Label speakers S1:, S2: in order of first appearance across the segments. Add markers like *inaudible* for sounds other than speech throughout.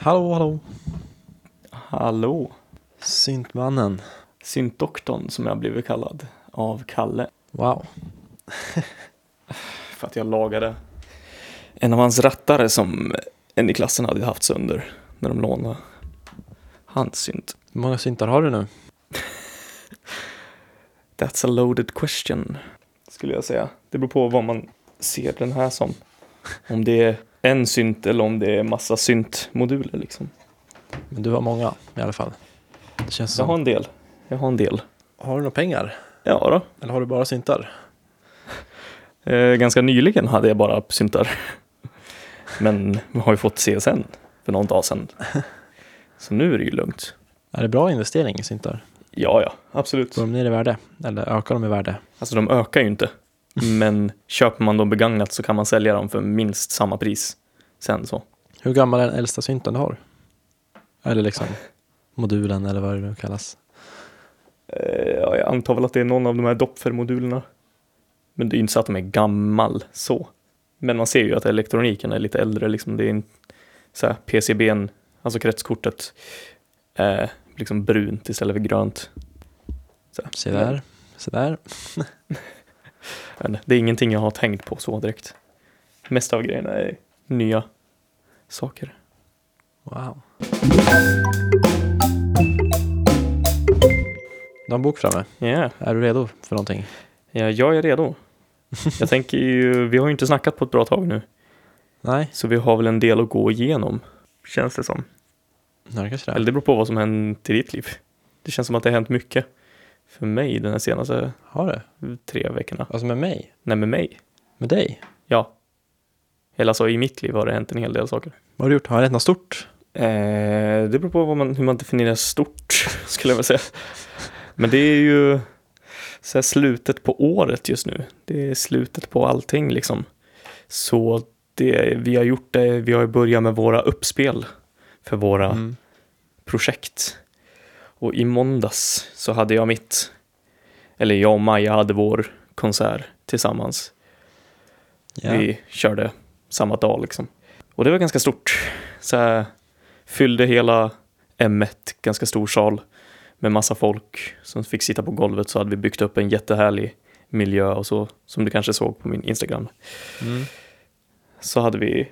S1: Hallå, hallå.
S2: Hallå!
S1: Syntmannen.
S2: Syntdoktorn som jag blivit kallad av Kalle
S1: Wow.
S2: för att jag lagade en av hans rattare som en i klassen hade haft sönder när de lånade hans synt.
S1: Hur många syntar har du nu?
S2: That's a loaded question skulle jag säga. Det beror på vad man ser den här som. Om det är en synt eller om det är massa syntmoduler liksom.
S1: Men du har många i alla fall. Det känns
S2: Jag
S1: som.
S2: har en del. Jag har en del.
S1: Har du några pengar?
S2: Ja då.
S1: Eller har du bara syntar?
S2: Eh, ganska nyligen hade jag bara syntar. *laughs* Men jag har ju fått CSN för någon dag sedan. Så nu är det ju lugnt.
S1: Är det bra investering i syntar?
S2: Ja, ja, absolut.
S1: Går de ner i värde? Eller ökar de i värde?
S2: Alltså de ökar ju inte. Men köper man dem begagnat så kan man sälja dem för minst samma pris sen så.
S1: Hur gammal är den äldsta synten du har? Eller liksom modulen eller vad det nu kallas.
S2: Eh, ja, jag antar väl att det är någon av de här Dopfer-modulerna. Men det är ju inte så att de är gammal så. Men man ser ju att elektroniken är lite äldre, liksom det är en, så här PCBn, alltså kretskortet, är liksom brunt istället för grönt. Så här.
S1: Se där. Se där.
S2: Men det är ingenting jag har tänkt på så direkt. Mest av grejerna är nya saker.
S1: Wow. Du har en bok framme.
S2: Ja,
S1: Är du redo för någonting?
S2: ja, jag är redo. Jag tänker ju, vi har ju inte snackat på ett bra tag nu,
S1: Nej,
S2: så vi har väl en del att gå igenom, känns det som.
S1: nej kanske det.
S2: Eller det beror på vad som hänt i ditt liv. Det känns som att det har hänt mycket för mig den här senaste
S1: Har du?
S2: tre veckorna.
S1: Alltså med mig?
S2: Nej, med mig.
S1: Med dig?
S2: Ja. Eller alltså i mitt liv har det hänt en hel del saker.
S1: Vad har du gjort? Har jag rätt något stort?
S2: Eh, det beror på vad man, hur man definierar stort, *laughs* skulle jag vilja säga. Men det är ju så här slutet på året just nu. Det är slutet på allting liksom. Så det, vi har gjort det, vi har börjat med våra uppspel för våra
S1: Mm.
S2: projekt. Och i måndags så hade jag mitt, eller jag och Maja hade vår konsert tillsammans.
S1: Ja.
S2: Vi körde samma dag liksom. Och det var ganska stort. Så här, fyllde hela M1, ganska stor sal med massa folk som fick sitta på golvet så hade vi byggt upp en jättehärlig miljö och så, som du kanske såg på min Instagram.
S1: Mm.
S2: Så hade vi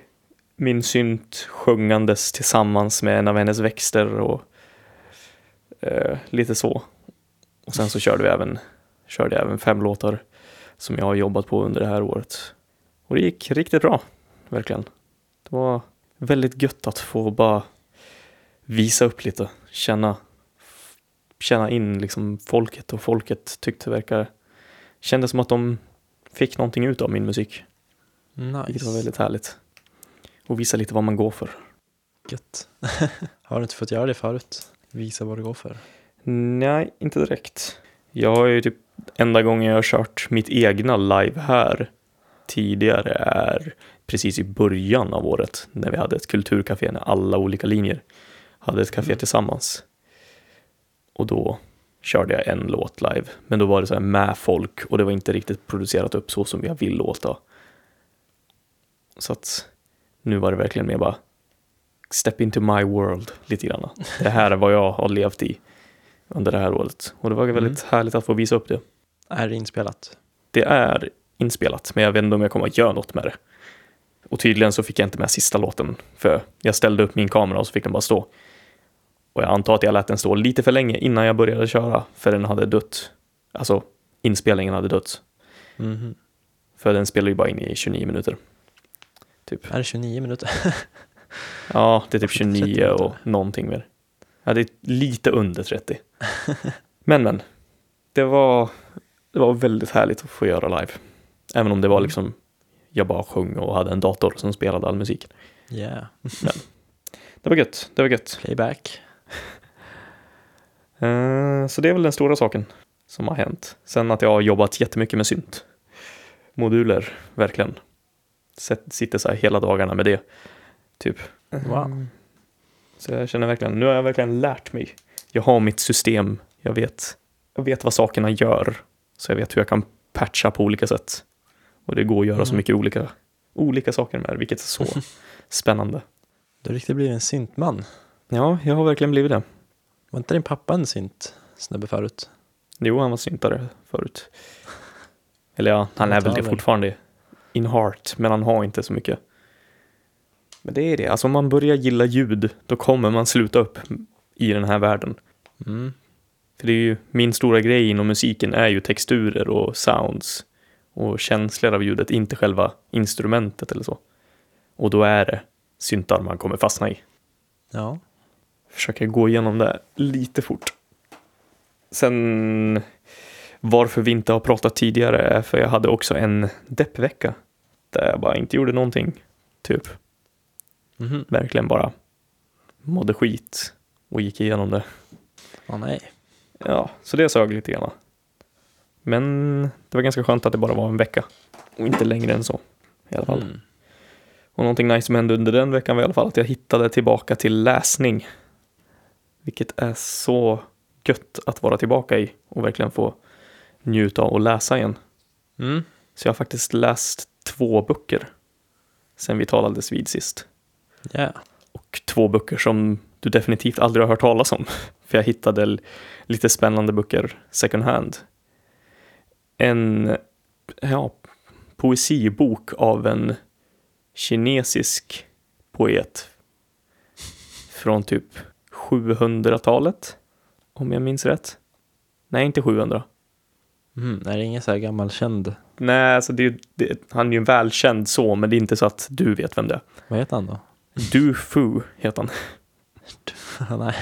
S2: min synt sjungandes tillsammans med en av hennes växter och eh, lite så. Och sen så körde vi även, körde jag även fem låtar som jag har jobbat på under det här året. Och det gick riktigt bra, verkligen. Det var väldigt gött att få bara visa upp lite, känna, känna in liksom folket och folket tyckte verkar, kändes som att de fick någonting ut av min musik, vilket var
S1: Mm, Nice.
S2: väldigt härligt. Och visa lite vad man går för.
S1: Gött. *laughs* har du inte fått göra det förut? Visa vad det går för.
S2: Nej, inte direkt. Jag har ju typ, enda gången jag har kört mitt egna live här tidigare är precis i början av året när vi hade ett kulturcafé när alla olika linjer hade ett café
S1: Mm.
S2: tillsammans. Och då körde jag en låt live, men då var det så här med folk och det var inte riktigt producerat upp så som jag vill låta. Så att nu var det verkligen mer bara step into my world lite grann. Det här är vad jag har levt i under det här året. Och det var väldigt härligt att få visa upp det.
S1: Är det inspelat?
S2: Det är inspelat, men jag vet inte om jag kommer att göra något med det. Och tydligen så fick jag inte med sista låten, för jag ställde upp min kamera och så fick den bara stå. Och jag antar att jag lät den stå lite för länge innan jag började köra, för den hade dött. Alltså, inspelningen hade dött.
S1: Mhm.
S2: För den spelar ju bara in i 29 minuter. Typ.
S1: Är det 29 minuter?
S2: Ja, det är typ
S1: 30
S2: 29
S1: Alltså, minuter.
S2: och någonting mer. Ja, det är lite under 30. Men, men. Det var, det var väldigt härligt att få göra live. Även om det
S1: Mm.
S2: var liksom, jag bara sjöng och hade en dator som spelade all musik.
S1: *laughs* Yeah.
S2: Det var gött, det var gött.
S1: Playback.
S2: Eh, så det är väl den stora saken som har hänt. Sen att jag har jobbat jättemycket med synt. Moduler, verkligen. Sätt- Sitter så här hela dagarna med det, typ.
S1: Wow.
S2: Så jag känner verkligen, nu har jag verkligen lärt mig. Jag har mitt system, jag vet, jag vet vad sakerna gör. Så jag vet hur jag kan patcha på olika sätt. Och det går att göra så
S1: Mm. *laughs*
S2: mycket olika, olika saker med det, vilket är så spännande.
S1: Du har riktigt blivit en syntman.
S2: Ja, jag har verkligen blivit det.
S1: Var inte din pappa en synt snubbe förut?
S2: Jo, han var syntare förut. Eller ja, han är
S1: Han
S2: väl
S1: tar
S2: det
S1: väl.
S2: fortfarande in heart, men han har inte så mycket. Men det är det, alltså om man börjar gilla ljud, då kommer man sluta upp i den här världen.
S1: Mm.
S2: För det är ju, min stora grej inom musiken är ju texturer och sounds och känslor av ljudet, inte själva instrumentet eller så. Och då är det syntar man kommer fastna i.
S1: Ja.
S2: försöka gå igenom det lite fort. Sen varför vi inte har pratat tidigare är för jag hade också en deppvecka där jag bara inte gjorde någonting, typ.
S1: Mhm.
S2: Verkligen bara mådde skit och gick igenom det.
S1: Åh nej.
S2: Ja, så det sög lite grann. Men det var ganska skönt att det bara var en vecka och inte längre än så i alla fall.
S1: Mm.
S2: Och någonting nice som hände under den veckan var i alla fall att jag hittade tillbaka till läsning. Vilket är så gött att vara tillbaka i och verkligen få njuta av att läsa igen.
S1: Mm.
S2: Så jag har faktiskt läst två böcker sen vi talades vid sist.
S1: Yeah.
S2: Och två böcker som du definitivt aldrig har hört talas om. *laughs* För jag hittade l- lite spännande böcker second hand. En ja, poesibok av en kinesisk poet från typ 700-talet, om jag minns rätt. Nej, inte 700.
S1: Mm. Är det ingen så här gammal känd?
S2: Nej, alltså det, är ju- det, han är ju en välkänd så, men det är inte så att du vet vem det är.
S1: Vad heter han då?
S2: Du Fu heter
S1: *laughs*
S2: han.
S1: nej.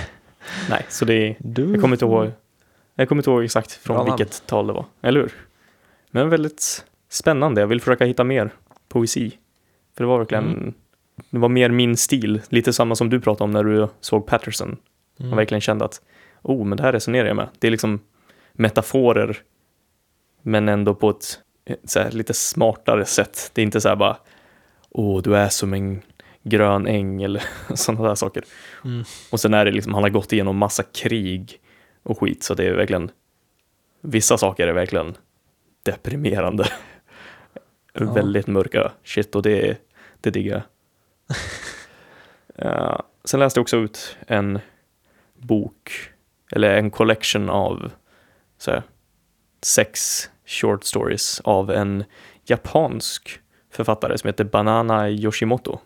S2: Nej, så det är
S1: Du.
S2: Jag kommer inte ihåg, jag kommer inte ihåg exakt från
S1: Bra namn.
S2: vilket tal det var, eller hur? Men väldigt spännande, jag vill försöka hitta mer poesi. För det var verkligen, det var mer min stil, lite samma som du pratade om när du såg Patterson.
S1: Mm.
S2: Man verkligen kände att, oh, men det här resonerar jag med. Det är liksom metaforer, men ändå på ett, ett så här, lite smartare sätt. Det är inte så här bara, åh, du är som en grön äng eller *laughs* sådana där saker.
S1: Mm.
S2: Och sen är det liksom, han har gått igenom massa krig och skit, så det är verkligen, vissa saker är verkligen deprimerande.
S1: Ja.
S2: *laughs* Väldigt mörka shit och det, det diggar
S1: *laughs*
S2: jag. Eh, Sen läste jag också ut en bok, eller en collection av så här, sex short stories av en japansk författare som heter Banana Yoshimoto.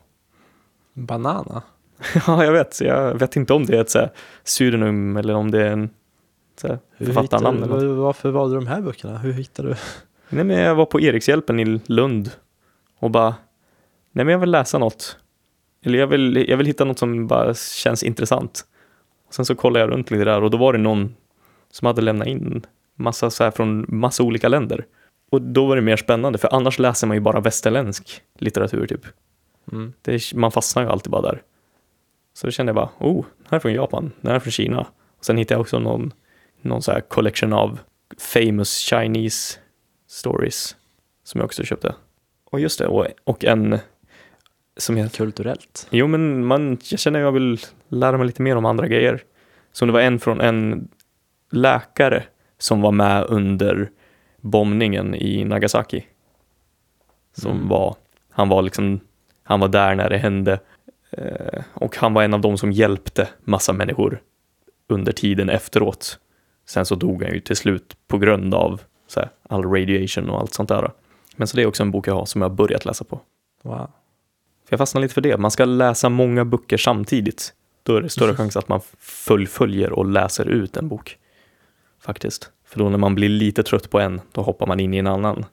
S1: Banana.
S2: *laughs* Ja, jag vet. Jag vet inte om det är ett så här, pseudonym eller om det är en så här,
S1: Hur
S2: författarnamn.
S1: hittar
S2: Eller
S1: du-
S2: något.
S1: Varför valde du de här böckerna? Hur hittade du?
S2: Nej, men jag var på Erikshjälpen i Lund och bara, nej men jag vill läsa något. Eller jag vill, jag vill hitta något som bara känns intressant. Och sen så kollade jag runt lite där och då var det någon som hade lämnat in massa så här från massa olika länder. Och då var det mer spännande, för annars läser man ju bara västerländsk litteratur typ.
S1: Mm.
S2: det, man fastnar ju alltid bara där. Så då kände jag bara, oh, den här är från Japan, den här är från Kina. Och sen hittade jag också någon, någon så här collection av famous Chinese stories som jag också köpte. Och just det, och, och en som jag
S1: Kulturellt.
S2: Jo, men man, jag känner jag vill lära mig lite mer om andra grejer. Som det var en från en läkare som var med under bombningen i Nagasaki. Som
S1: Mm.
S2: var, han var liksom, han var där när det hände. Eh, och han var en av dem som hjälpte massa människor under tiden efteråt. Sen så dog han ju till slut på grund av så här, all radiation och allt sånt där. Men så det är också en bok jag har som jag har börjat läsa på.
S1: Wow.
S2: För jag fastnar lite för det. Man ska läsa många böcker samtidigt. Då är det större chans att man fullföljer och läser ut en bok. Faktiskt. För då när man blir lite trött på en, då hoppar man in i en annan.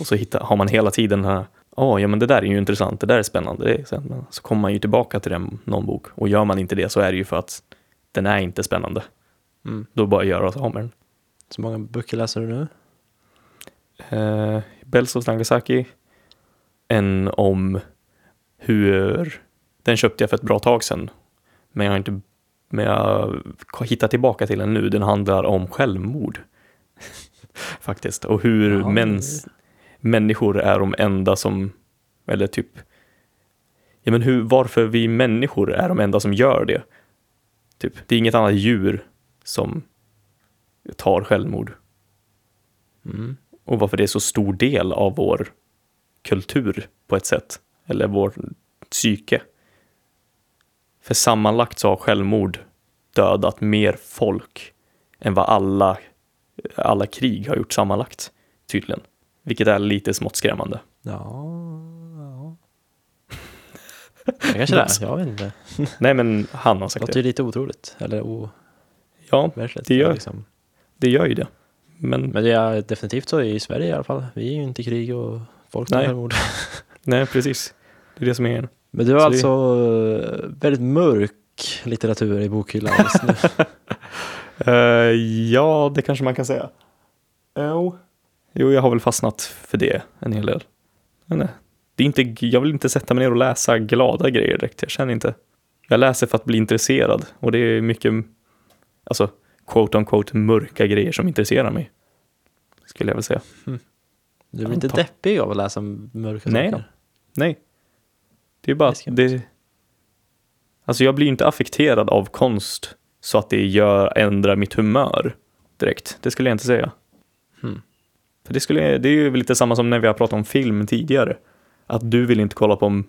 S2: Och så hittar, har man hela tiden den här, "Ah, ja men det där är ju intressant, det där är spännande. Det är, så, här, men så kommer man ju tillbaka till den, någon bok. Och gör man inte det så är det ju för att den är inte spännande.
S1: Mm.
S2: Då bara göra oss av med den.
S1: Så många böcker läser du nu?
S2: Eh, Bells of Nagasaki. En om hur... Den köpte jag för ett bra tag sedan. Men jag har inte... Men jag har hittat tillbaka till den nu. Den handlar om självmord. *laughs* Faktiskt. Och hur
S1: Ja,
S2: mäns, människor är de enda som... Eller typ... Ja, men hur, varför vi människor är de enda som gör det. Typ. Det är inget annat djur som tar självmord
S1: Mm.
S2: och varför det är så stor del av vår kultur på ett sätt, eller vår psyke. För sammanlagt så har självmord dödat mer folk än vad alla, alla krig har gjort sammanlagt, tydligen. Vilket är lite smått skrämmande.
S1: Ja. ja. Det kanske det är. Jag vet inte.
S2: Nej, men han har
S1: Det
S2: sagt
S1: låter ju
S2: det.
S1: lite otroligt. Eller overkligt.
S2: Ja, Det gör-
S1: Liksom.
S2: det gör ju det. Men
S1: Men det är definitivt så i Sverige i alla fall. Vi är ju inte i krig och folk tar
S2: Nej.
S1: självmord.
S2: nej, precis. Det är det som är grejen.
S1: Men du har
S2: Så det-
S1: alltså eh, väldigt mörk litteratur i bokhyllan *laughs* just nu.
S2: Eh, ja, det kanske man kan säga. Jo. Jo, jag har väl fastnat för det en hel del. Men nej. Det är inte, jag vill inte sätta mig ner och läsa glada grejer direkt, jag känner inte. Jag läser för att bli intresserad och det är mycket, alltså, quote on quote mörka grejer som intresserar mig. Skulle jag väl säga.
S1: Du blir inte
S2: Antar-
S1: deppig av att läsa mörka
S2: Nej
S1: saker?
S2: Nej. Det är bara
S1: Det
S2: att
S1: ska jag
S2: det... Alltså jag blir ju inte affekterad av konst så att det gör, ändrar mitt humör direkt. Det skulle jag inte säga.
S1: Hmm.
S2: För det, skulle, det är ju lite samma som när vi har pratat om film tidigare. Att du vill inte kolla på m-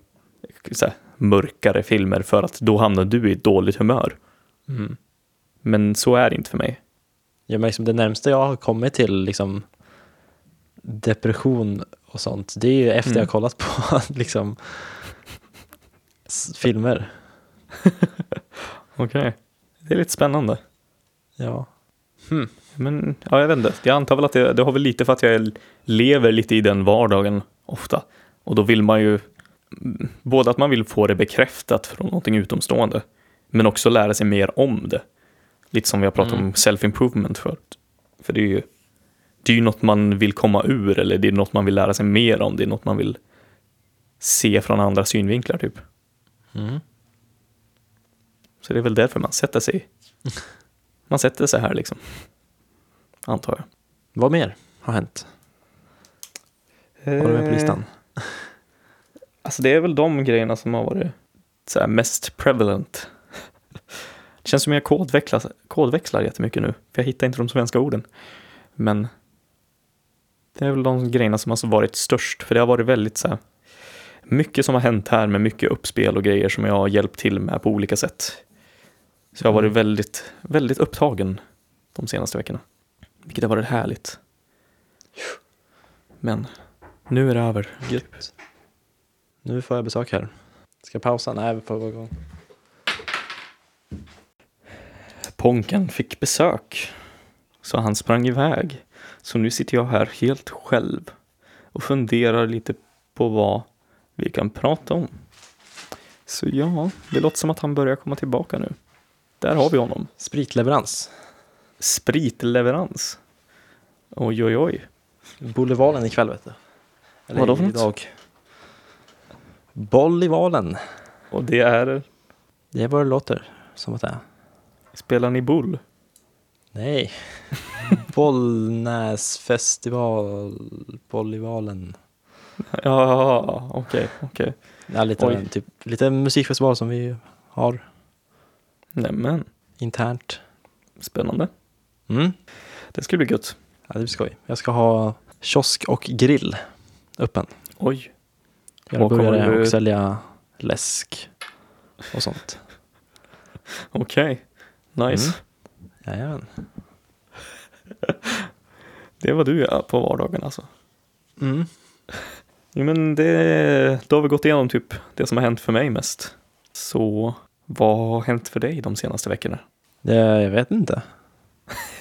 S2: så här, mörkare filmer för att då hamnar du i ett dåligt humör.
S1: Mm.
S2: Men så är det inte för mig.
S1: Ja, men liksom det närmsta jag har kommit till liksom, depression och sånt, det är ju efter
S2: Mm.
S1: jag har kollat på *laughs* liksom, s- filmer.
S2: Okej. Det är lite spännande.
S1: Ja.
S2: Men ja, jag vet inte. Jag antar väl att det, det har väl lite för att jag lever lite i den vardagen ofta. Och då vill man ju mm, både att man vill få det bekräftat från någonting utomstående, men också lära sig mer om det. Lite som vi har pratat
S1: Mm.
S2: om self-improvement förut. För det är ju det är ju något man vill komma ur eller det är något man vill lära sig mer om. Det är något man vill se från andra synvinklar typ.
S1: Mm.
S2: Så det är väl därför man sätter sig. Man sätter sig här liksom. Antar jag.
S1: Vad mer har hänt? Har du med på
S2: Eh,
S1: listan?
S2: Alltså det är väl de grejerna som har varit så här mest prevalent. Det känns som jag kodväxlar, kodväxlar jättemycket nu, för jag hittar inte de svenska orden. Men det är väl de grejerna som har varit störst, för det har varit väldigt så här mycket som har hänt här med mycket uppspel och grejer som jag har hjälpt till med på olika sätt. Så jag har varit väldigt, väldigt upptagen de senaste veckorna, vilket har varit härligt. Men nu är det över.
S1: Gött. Nu får jag besök här. Ska jag pausa? Nej, vi får gå igång.
S2: Ponken fick besök. Så han sprang iväg. Så nu sitter jag här helt själv och funderar lite på vad vi kan prata om. Så ja, det låter som att han börjar komma tillbaka nu. Där har vi honom.
S1: Spritleverans.
S2: Spritleverans. Oj, oj, oj.
S1: Bolivalen ikväll vet du. Eller
S2: Vadå för något?
S1: idag. Bolivalen.
S2: Och det är...
S1: Det är vad det låter som att det är.
S2: Spelar ni boll?
S1: Nej. *laughs* Bollnäsfestival, Bolivalen.
S2: Ja, okej, okej.
S1: Ja, lite, av
S2: Oj.
S1: en typ, lite musikfestival som vi har
S2: Nämen,
S1: internt.
S2: spännande.
S1: Mm.
S2: Det ska bli gött.
S1: Ja, det blir skoj. Jag ska ha kiosk och grill öppen.
S2: Oj.
S1: Göra
S2: Och kommer
S1: burgare
S2: du-
S1: och sälja läsk och sånt.
S2: Okej. *laughs* Nice.
S1: Mm. Jajamän.
S2: Det är vad du gör på vardagen alltså.
S1: Mm.
S2: Jo, men det, då har vi gått igenom typ det som har hänt för mig mest. Så vad har hänt för dig de senaste veckorna?
S1: Det, jag vet inte.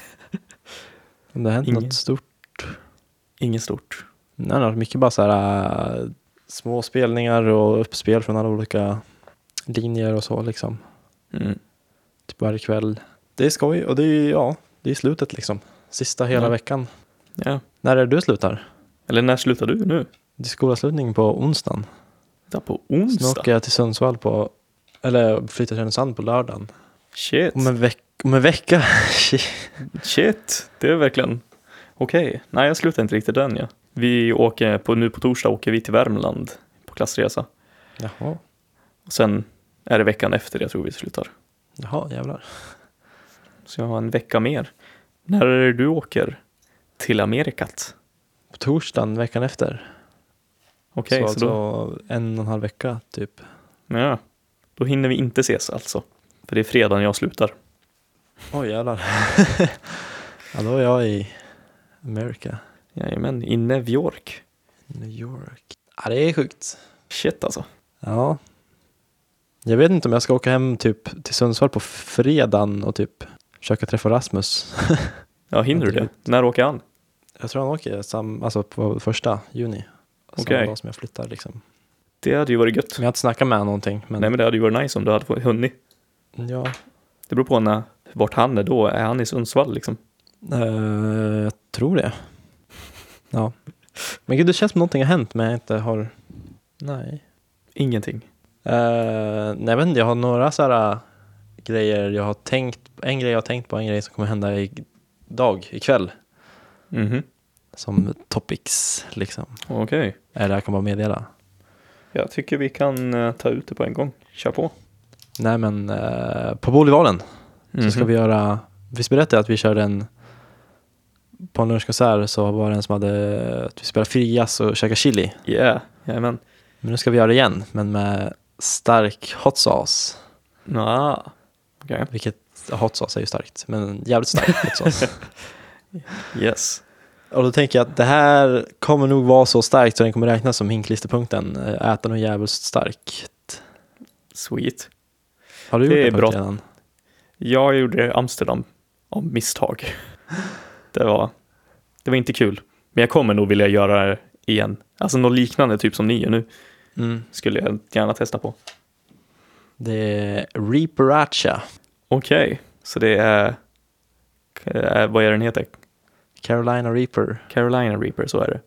S1: *laughs* Om det har hänt
S2: Ingen-
S1: något stort.
S2: Inget stort.
S1: Nej, det har varit mycket bara så här äh, små spelningar och uppspel från alla olika linjer och så liksom.
S2: Mm.
S1: Typ varje kväll. Det är skoj och det är ju, ja, det är slutet liksom. Sista hela
S2: Ja.
S1: veckan.
S2: Ja.
S1: När är det du slutar?
S2: Eller när slutar du nu?
S1: Det är skolavslutning på onsdagen.
S2: Där på
S1: Sen
S2: onsdag?
S1: åker jag till Sundsvall på, eller flyttar till Härnösand på lördagen.
S2: Shit.
S1: Om en, veck, om en vecka. *laughs* Shit.
S2: Shit, det är verkligen... Okej, nej jag slutar inte riktigt den ja. Vi åker på, nu på torsdag åker vi till Värmland på klassresa.
S1: Jaha,
S2: Och sen är det veckan efter jag tror vi slutar.
S1: jaha jävlar.
S2: Så jag har en vecka mer. När är det du åker till Amerikat?
S1: På torsdagen veckan efter.
S2: Okej,
S1: så
S2: så,
S1: alltså en och en halv vecka typ.
S2: då... Ja. Då hinner vi inte ses alltså. För det är fredag när jag slutar.
S1: Oj *laughs* jävlar. ja, då är jag i America,
S2: Jajamän, i New York.
S1: New York. Ja, det är sjukt.
S2: Shit alltså.
S1: Ja. Jag vet inte om jag ska åka hem typ till Sundsvall på fredagen och typ försöka träffa Rasmus.
S2: Ja, hinner du det? När åker han?
S1: Jag tror han åker sam, alltså på första juni. Samma
S2: Okej.
S1: dag som jag flyttar liksom.
S2: Det hade ju varit gött.
S1: Men jag har inte snackat med honom någonting. Men,
S2: Nej men det hade ju varit nice om du hade fått- hunnit.
S1: ja,
S2: Det beror på när, vart han är då. Är han i Sundsvall liksom?
S1: eh, jag tror det. Ja. Men gud, det känns som någonting har hänt men jag inte har... Nej.
S2: Ingenting.
S1: Uh, nej men jag har några så här äh, grejer jag har tänkt, en grej jag har tänkt på, en grej som kommer hända idag, ikväll,
S2: Mhm.
S1: som topics liksom.
S2: Okej.
S1: Eller jag kan bara meddela.
S2: Jag tycker vi kan eh, ta ut det på en gång. Kör på.
S1: Nej men eh, på Bolivalen så ska
S2: Mhm.
S1: vi göra, visst berättade jag att vi körde en, på en lunchkonsert så var det en som hade, att vi spelade frias och käkade chili.
S2: Yeah, jajamän.
S1: Men nu ska vi göra det igen, men med stark hot sauce.
S2: Nja, okej.
S1: Vilket, hot sauce är ju starkt, men jävligt stark hot sauce.
S2: Yes.
S1: Och då tänker jag att det här kommer nog vara så starkt så den kommer räknas som hinklisterpunkten. Eh, Äta något jävligt starkt.
S2: Sweet.
S1: Har du
S2: Det är
S1: gjort det
S2: bra.
S1: redan?
S2: Jag gjorde det i Amsterdam av misstag. Det var, det var inte kul. Men jag kommer nog vilja göra det igen. Alltså något liknande typ som ni gör nu
S1: Mm.
S2: skulle jag gärna testa på.
S1: Det är Reaperacha,
S2: Okej, så det är, eh, vad är den heter?
S1: Carolina Reaper,
S2: Carolina Reaper, så är det.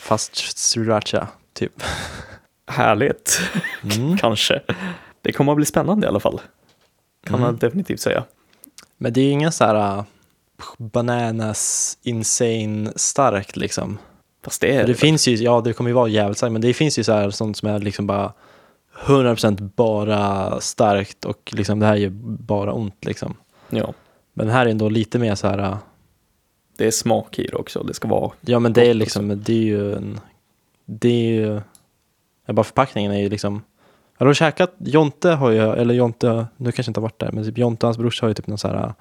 S1: fast sriracha typ. *laughs*
S2: Härligt,
S1: Mm.
S2: kanske. Det kommer att bli spännande i alla fall. Kan man
S1: Mm.
S2: definitivt säga.
S1: Men det är ju inga så här äh, bananas insane starkt liksom.
S2: Fast det är
S1: För det finns ju, ja det kommer ju vara jävligt starkt, men det finns ju så här sånt som är liksom bara 100% bara starkt och liksom det här gör bara ont liksom.
S2: Ja,
S1: Men här är ändå lite mer så här äh,
S2: det är smak i det också. Det ska vara
S1: Ja men det är
S2: Gott
S1: liksom, det är ju en, det är ju, ja, bara förpackningen är ju liksom, har du käkat, Jonte har ju, eller Jonte, nu kanske inte har varit där, men typ Jonte och hans brorsa har ju typ någon sån här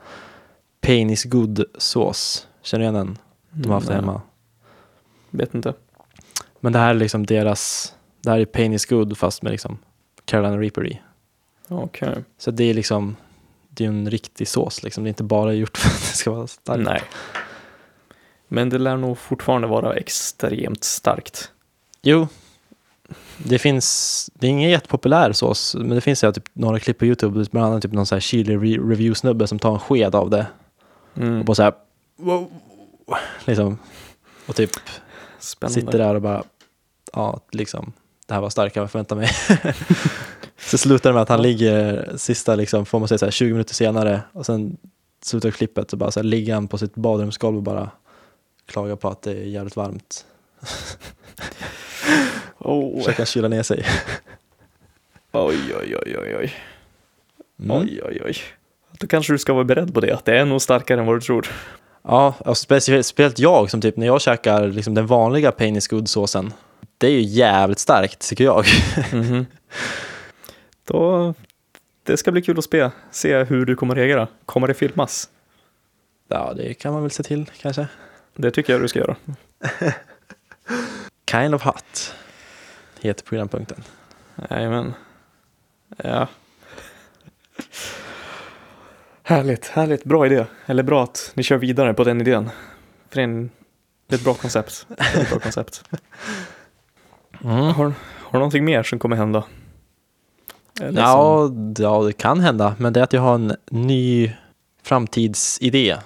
S1: penis good sås, känner du igen den? De har haft det
S2: Mm,
S1: hemma.
S2: Vet inte.
S1: Men det här är liksom deras, det här är penis good fast med liksom Carolina Reaper i.
S2: Okej.
S1: Så det är liksom, det är ju en riktig sås liksom, det är inte bara gjort för att det ska vara starkt.
S2: Nej. Men det lär nog fortfarande vara extremt starkt.
S1: Jo, det finns, det är ingen jättepopulär sås, men det finns ja, typ, några klipp på YouTube, bland annat typ någon så här chili re- review-snubbe som tar en sked av det och
S2: Mm.
S1: bara så här, wow, liksom, och typ
S2: Spännande.
S1: sitter där och bara, ja, liksom, det här var starkare än vad jag förväntade mig. *laughs* så slutar det med att han ligger sista, liksom, får man säga så här, 20 minuter senare och sen slutar klippet så bara så här, ligger han på sitt badrumsgolv och bara klagar på att det är jävligt varmt.
S2: Oh.
S1: Försöker kyla ner sig.
S2: Oj, oj, oj, oj, oj.
S1: Mm.
S2: Oj, oj, oj. Då kanske du ska vara beredd på det, att det är nog starkare än vad du tror.
S1: Ja, och speciellt, speciellt jag som typ när jag käkar liksom den vanliga Painis Good-såsen. Det är ju jävligt starkt tycker jag. *laughs*
S2: Mhm. *laughs* Då, det ska bli kul att spe, se hur du kommer reagera. Kommer det filmas?
S1: Ja, det kan man väl se till kanske.
S2: Det tycker jag du ska göra.
S1: Kind of hot heter programpunkten.
S2: Jajamän. Ja. Härligt, härligt. Bra idé. Eller bra att ni kör vidare på den idén. För det är, en, det är ett bra koncept. Det är ett bra koncept. Har, *laughs* har du någonting mer som kommer hända? Eller som-
S1: Ja, d- ja, det kan hända, men det är att jag har en ny framtidsidé.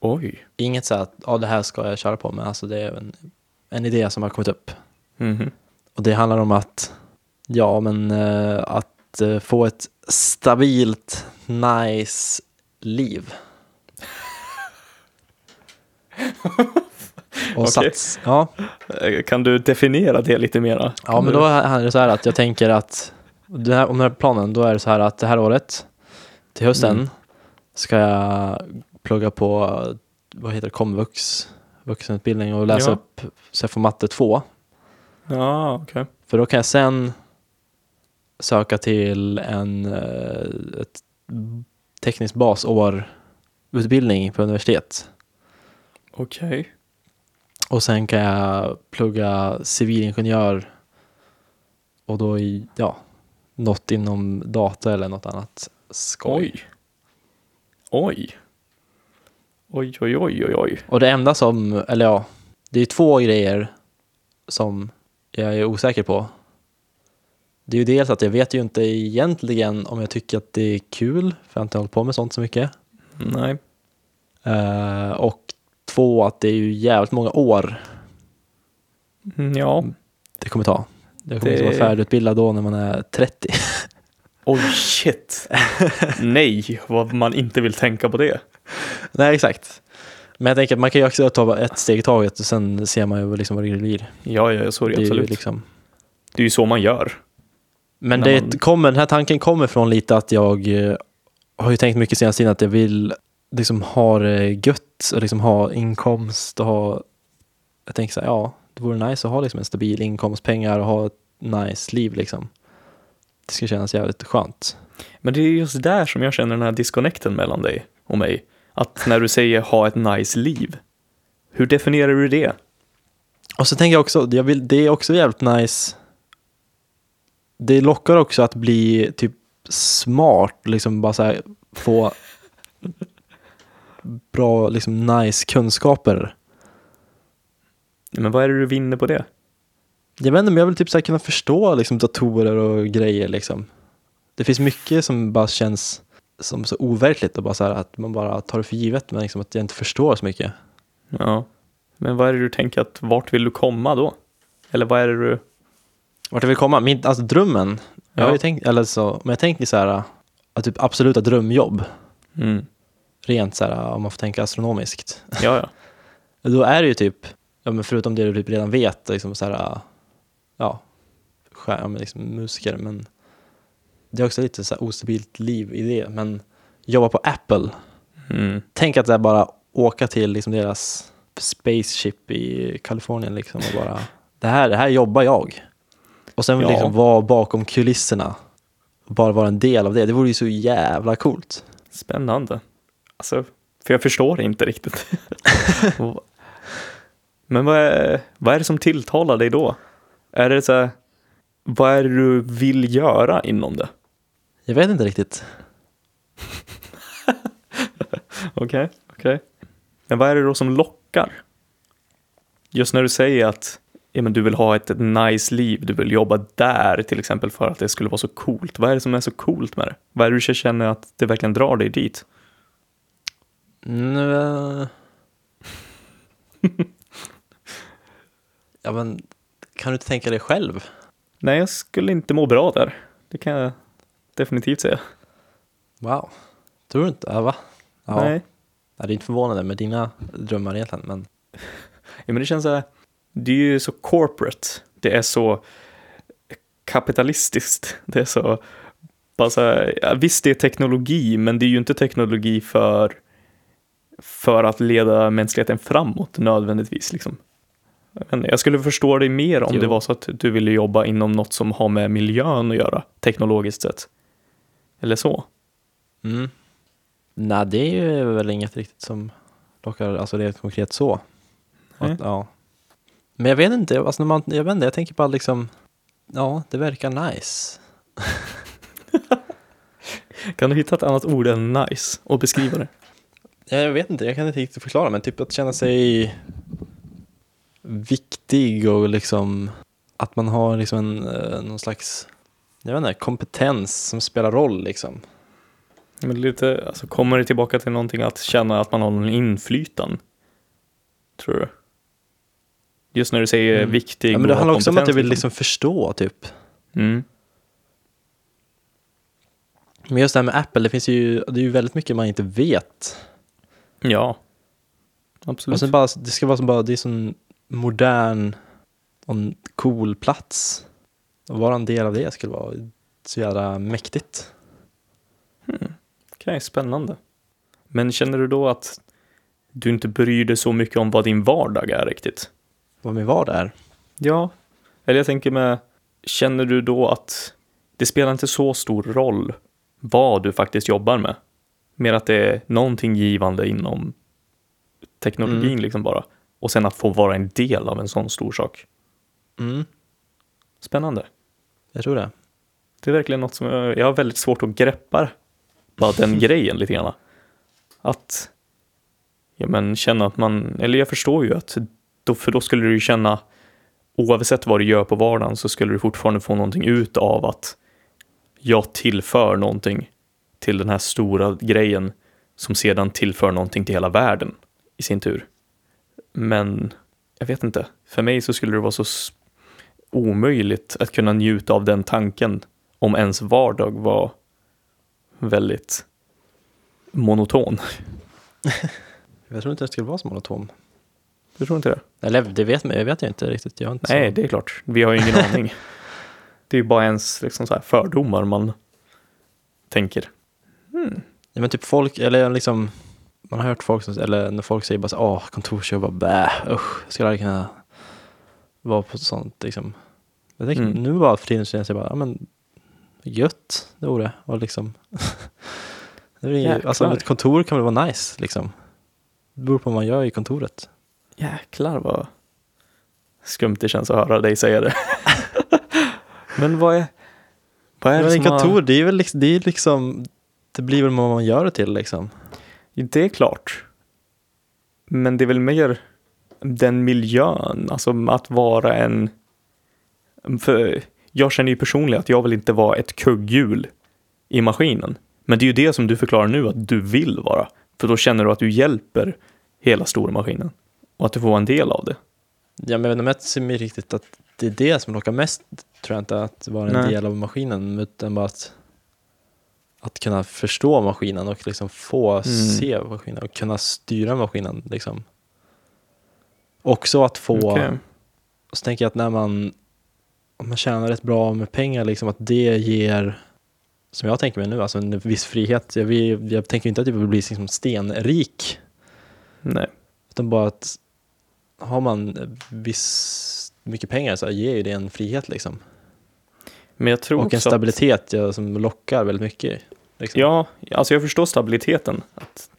S2: Oj.
S1: Inget så här att ja, det här ska jag köra på, men alltså det är en, en idé som har kommit upp.
S2: Mhm.
S1: Och det handlar om att, ja men eh, att eh, få ett stabilt, nice
S2: *laughs*
S1: liv. Och
S2: Okej.
S1: sats, ja.
S2: Eh, Kan du definiera det lite mera?
S1: ja,
S2: Kan
S1: men
S2: du-
S1: då är det så här att jag tänker att, det här, om den här planen, då är det så här att det här året, till hösten,
S2: Mm.
S1: ska jag plugga på, eh, vad heter det, komvux, vuxenutbildning och läsa
S2: Ja.
S1: upp, så jag får matte 2.
S2: Ja, okej.
S1: För då kan jag sen söka till en eh, ett teknisk basårutbildning på universitet.
S2: Okej.
S1: Och sen kan jag plugga civilingenjör och då i, ja, något inom data eller något annat skoj.
S2: Oj. Oj. Oj, oj, oj, oj, oj.
S1: Och det enda som, eller ja, det är två grejer som jag är osäker på. Det är ju dels att jag vet ju inte egentligen om jag tycker att det är kul, för jag har inte hållit på med sånt så mycket.
S2: Nej.
S1: Eh, och två, att det är ju jävligt många år
S2: Mm, Ja.
S1: det kommer ta. Jag kommer inte
S2: Det-
S1: vara färdigutbildad då när man är
S2: *laughs*
S1: 30.
S2: Oj, shit. Nej, vad man inte vill tänka på det.
S1: Nej, exakt. Men jag tänker att man kan ju också ta bara ett steg i taget och sen ser man ju liksom vad det blir.
S2: Ja, ja, så är
S1: Det
S2: det
S1: är ju
S2: absolut.
S1: liksom.
S2: Det är ju så man gör.
S1: Men
S2: När
S1: det
S2: man-
S1: kommer, den här tanken kommer från lite att jag eh, har ju tänkt mycket senaste tiden att jag vill liksom ha det gött och liksom ha inkomst och ha, jag tänker så här, ja, det vore nice att ha liksom en stabil inkomst, pengar och ha ett nice liv liksom. Det ska kännas jävligt skönt.
S2: Men det är just där som jag känner den här disconnecten mellan dig och mig. Att när du säger ha ett nice liv, hur definierar du det?
S1: Och så tänker jag också, jag vill, det är också jävligt nice. Det lockar också att bli typ smart, liksom bara så här, få bra, liksom nice kunskaper.
S2: Men vad är det du vinner på det?
S1: Jag vet inte, men jag vill typ så här kunna förstå liksom datorer och grejer liksom. Det finns mycket som bara känns som så overkligt och bara så här att man bara tar det för givet, men liksom att jag inte förstår så mycket.
S2: Ja. Men vad är det du tänker att, vart vill du komma då? Eller vad är det du...
S1: Vart jag vill komma? Min, alltså drömmen, jag har
S2: Ja.
S1: ju tänkt, eller så, men jag tänker så här, att typ absoluta drömjobb.
S2: Mm.
S1: rent så här, om man får tänka astronomiskt,
S2: Ja, ja.
S1: då är det ju typ, ja, men förutom det du typ redan vet, liksom så här, ja, skär, ja men liksom musiker, men det är också lite så här ostabilt liv i det, men jobba på Apple,
S2: Mm.
S1: tänk att så här bara åka till liksom deras spaceship i Kalifornien liksom och bara, det här, det här jobbar jag. Och sen
S2: Ja.
S1: liksom vara bakom kulisserna, bara vara en del av det, det vore ju så jävla coolt.
S2: Spännande. Alltså, för jag förstår det inte *laughs* riktigt. Men vad är, vad är det som tilltalar dig då? Är det så här, vad är det du vill göra inom det?
S1: Jag vet inte riktigt.
S2: Okej, okej. Men vad är det då som lockar? Just när du säger att ja, men du vill ha ett nice liv, du vill jobba där till exempel för att det skulle vara så coolt. Vad är det som är så coolt med det? Vad är det du känner att det verkligen drar dig dit?
S1: Nu... eh.
S2: *laughs*
S1: ja, men kan du inte tänka dig själv?
S2: Nej, jag skulle inte må bra där. Det kan jag definitivt säga.
S1: Wow. Tror du inte? Ja, va? Ja.
S2: Nej.
S1: Ja, det är inte förvånande med dina drömmar egentligen, men
S2: Ja, men det känns så här, det är ju så corporate, det är så kapitalistiskt, det är så, bara så här, ja, visst det är teknologi, men det är ju inte teknologi för, för att leda mänskligheten framåt nödvändigtvis. Liksom. Jag vet inte, jag skulle förstå dig mer om
S1: Jo.
S2: det var så att du ville jobba inom något som har med miljön att göra, teknologiskt sett. Eller så.
S1: mm. Nej, det är ju väl inget riktigt som lockar, alltså det är konkret så.
S2: Nej.
S1: Att, ja. Men jag vet inte, alltså när man, jag vet inte, jag tänker bara liksom, ja, det verkar nice.
S2: Kan du hitta ett annat ord än nice och beskriva det?
S1: Ja, Eh, Jag vet inte, jag kan inte riktigt förklara, men typ att känna sig viktig och liksom att man har liksom en, eh, någon slags jag vet inte, kompetens som spelar roll liksom.
S2: Men lite, alltså kommer det tillbaka till någonting att känna att man har någon inflytande? Tror du? Just när du säger
S1: Mm.
S2: viktig
S1: Ja, men
S2: och
S1: det
S2: har
S1: handlar också om att jag
S2: kompetens,
S1: vill liksom förstå typ.
S2: Mm.
S1: Men just det här med Apple, det finns ju, det är ju väldigt mycket man inte vet.
S2: Ja.
S1: Och
S2: Absolut.
S1: sen bara, det ska vara som bara, det är sån modern och en cool plats. Och vara en del av det skulle vara så jävla mäktigt.
S2: Okej, spännande. Men känner du då att du inte bryr dig så mycket om vad din vardag är riktigt?
S1: Vad min vardag är.
S2: Ja. Eller jag tänker med, känner du då att det spelar inte så stor roll vad du faktiskt jobbar med. Mer att det är någonting givande inom teknologin
S1: Mm.
S2: liksom bara. Och sen att få vara en del av en sån stor sak.
S1: Mm,
S2: Spännande.
S1: jag tror det.
S2: Det är verkligen något som jag, jag har väldigt svårt att greppa. Bara den grejen lite grann. Att ja, men känna att man, eller jag förstår ju att då, för då skulle du ju känna oavsett vad du gör på vardagen så skulle du fortfarande få någonting ut av att jag tillför någonting till den här stora grejen som sedan tillför någonting till hela världen i sin tur. Men jag vet inte, för mig så skulle det vara så s- omöjligt att kunna njuta av den tanken om ens vardag var väldigt monoton.
S1: Jag tror inte det skulle vara så monotom.
S2: Du tror inte det?
S1: Eller det vet, jag vet jag inte riktigt. Jag har inte
S2: Nej,
S1: så.
S2: det är klart. Vi har ju *laughs* ingen aning. Det är ju bara ens liksom så här fördomar man tänker.
S1: Ja, men typ folk, eller liksom, man har hört folk som, eller när folk säger bara så, åh, kontorsjobb, bara, bä, usch, jag skulle aldrig kunna vara på sånt liksom. Jag tänker,
S2: Mm.
S1: nu bara för tiden så känns jag bara, ja men gött, det vore, och liksom. *laughs* det är ju, alltså
S2: Jäklar.
S1: ett kontor kan väl vara nice liksom. Det beror på vad man gör i kontoret.
S2: Jäklar vad skumt det känns att höra dig säga det. *laughs* Men vad är, vad är
S1: Men
S2: det
S1: i
S2: som har-
S1: kontor, det är väl liksom, det är liksom, det blir väl vad man gör det till liksom.
S2: Det är klart. Men det är väl mer den miljön, alltså att vara en... För jag känner ju personligen att jag vill inte vara ett kugghjul i maskinen. Men det är ju det som du förklarar nu att du vill vara. För då känner du att du hjälper hela stora maskinen. Och att du får vara en del av det.
S1: Ja, men jag vet inte om jag ser mig riktigt att det är det som lockar mest, tror jag inte, att vara en
S2: Nej.
S1: del av maskinen, utan bara att, att kunna förstå maskinen och liksom få
S2: Mm.
S1: se maskinen och kunna styra maskinen. Liksom. Också att få,
S2: Okej.
S1: och så tänker jag att när man, om man tjänar rätt bra med pengar, liksom, att det ger, som jag tänker mig nu, alltså en viss frihet. Jag, vill, jag tänker inte att jag vill bli liksom stenrik
S2: Nej.
S1: utan bara att har man viss mycket pengar så ger ju det en frihet liksom.
S2: Men jag tror
S1: Och en
S2: också att-
S1: stabilitet ja, som lockar väldigt mycket. Liksom.
S2: Ja, alltså jag förstår stabiliteten. Att,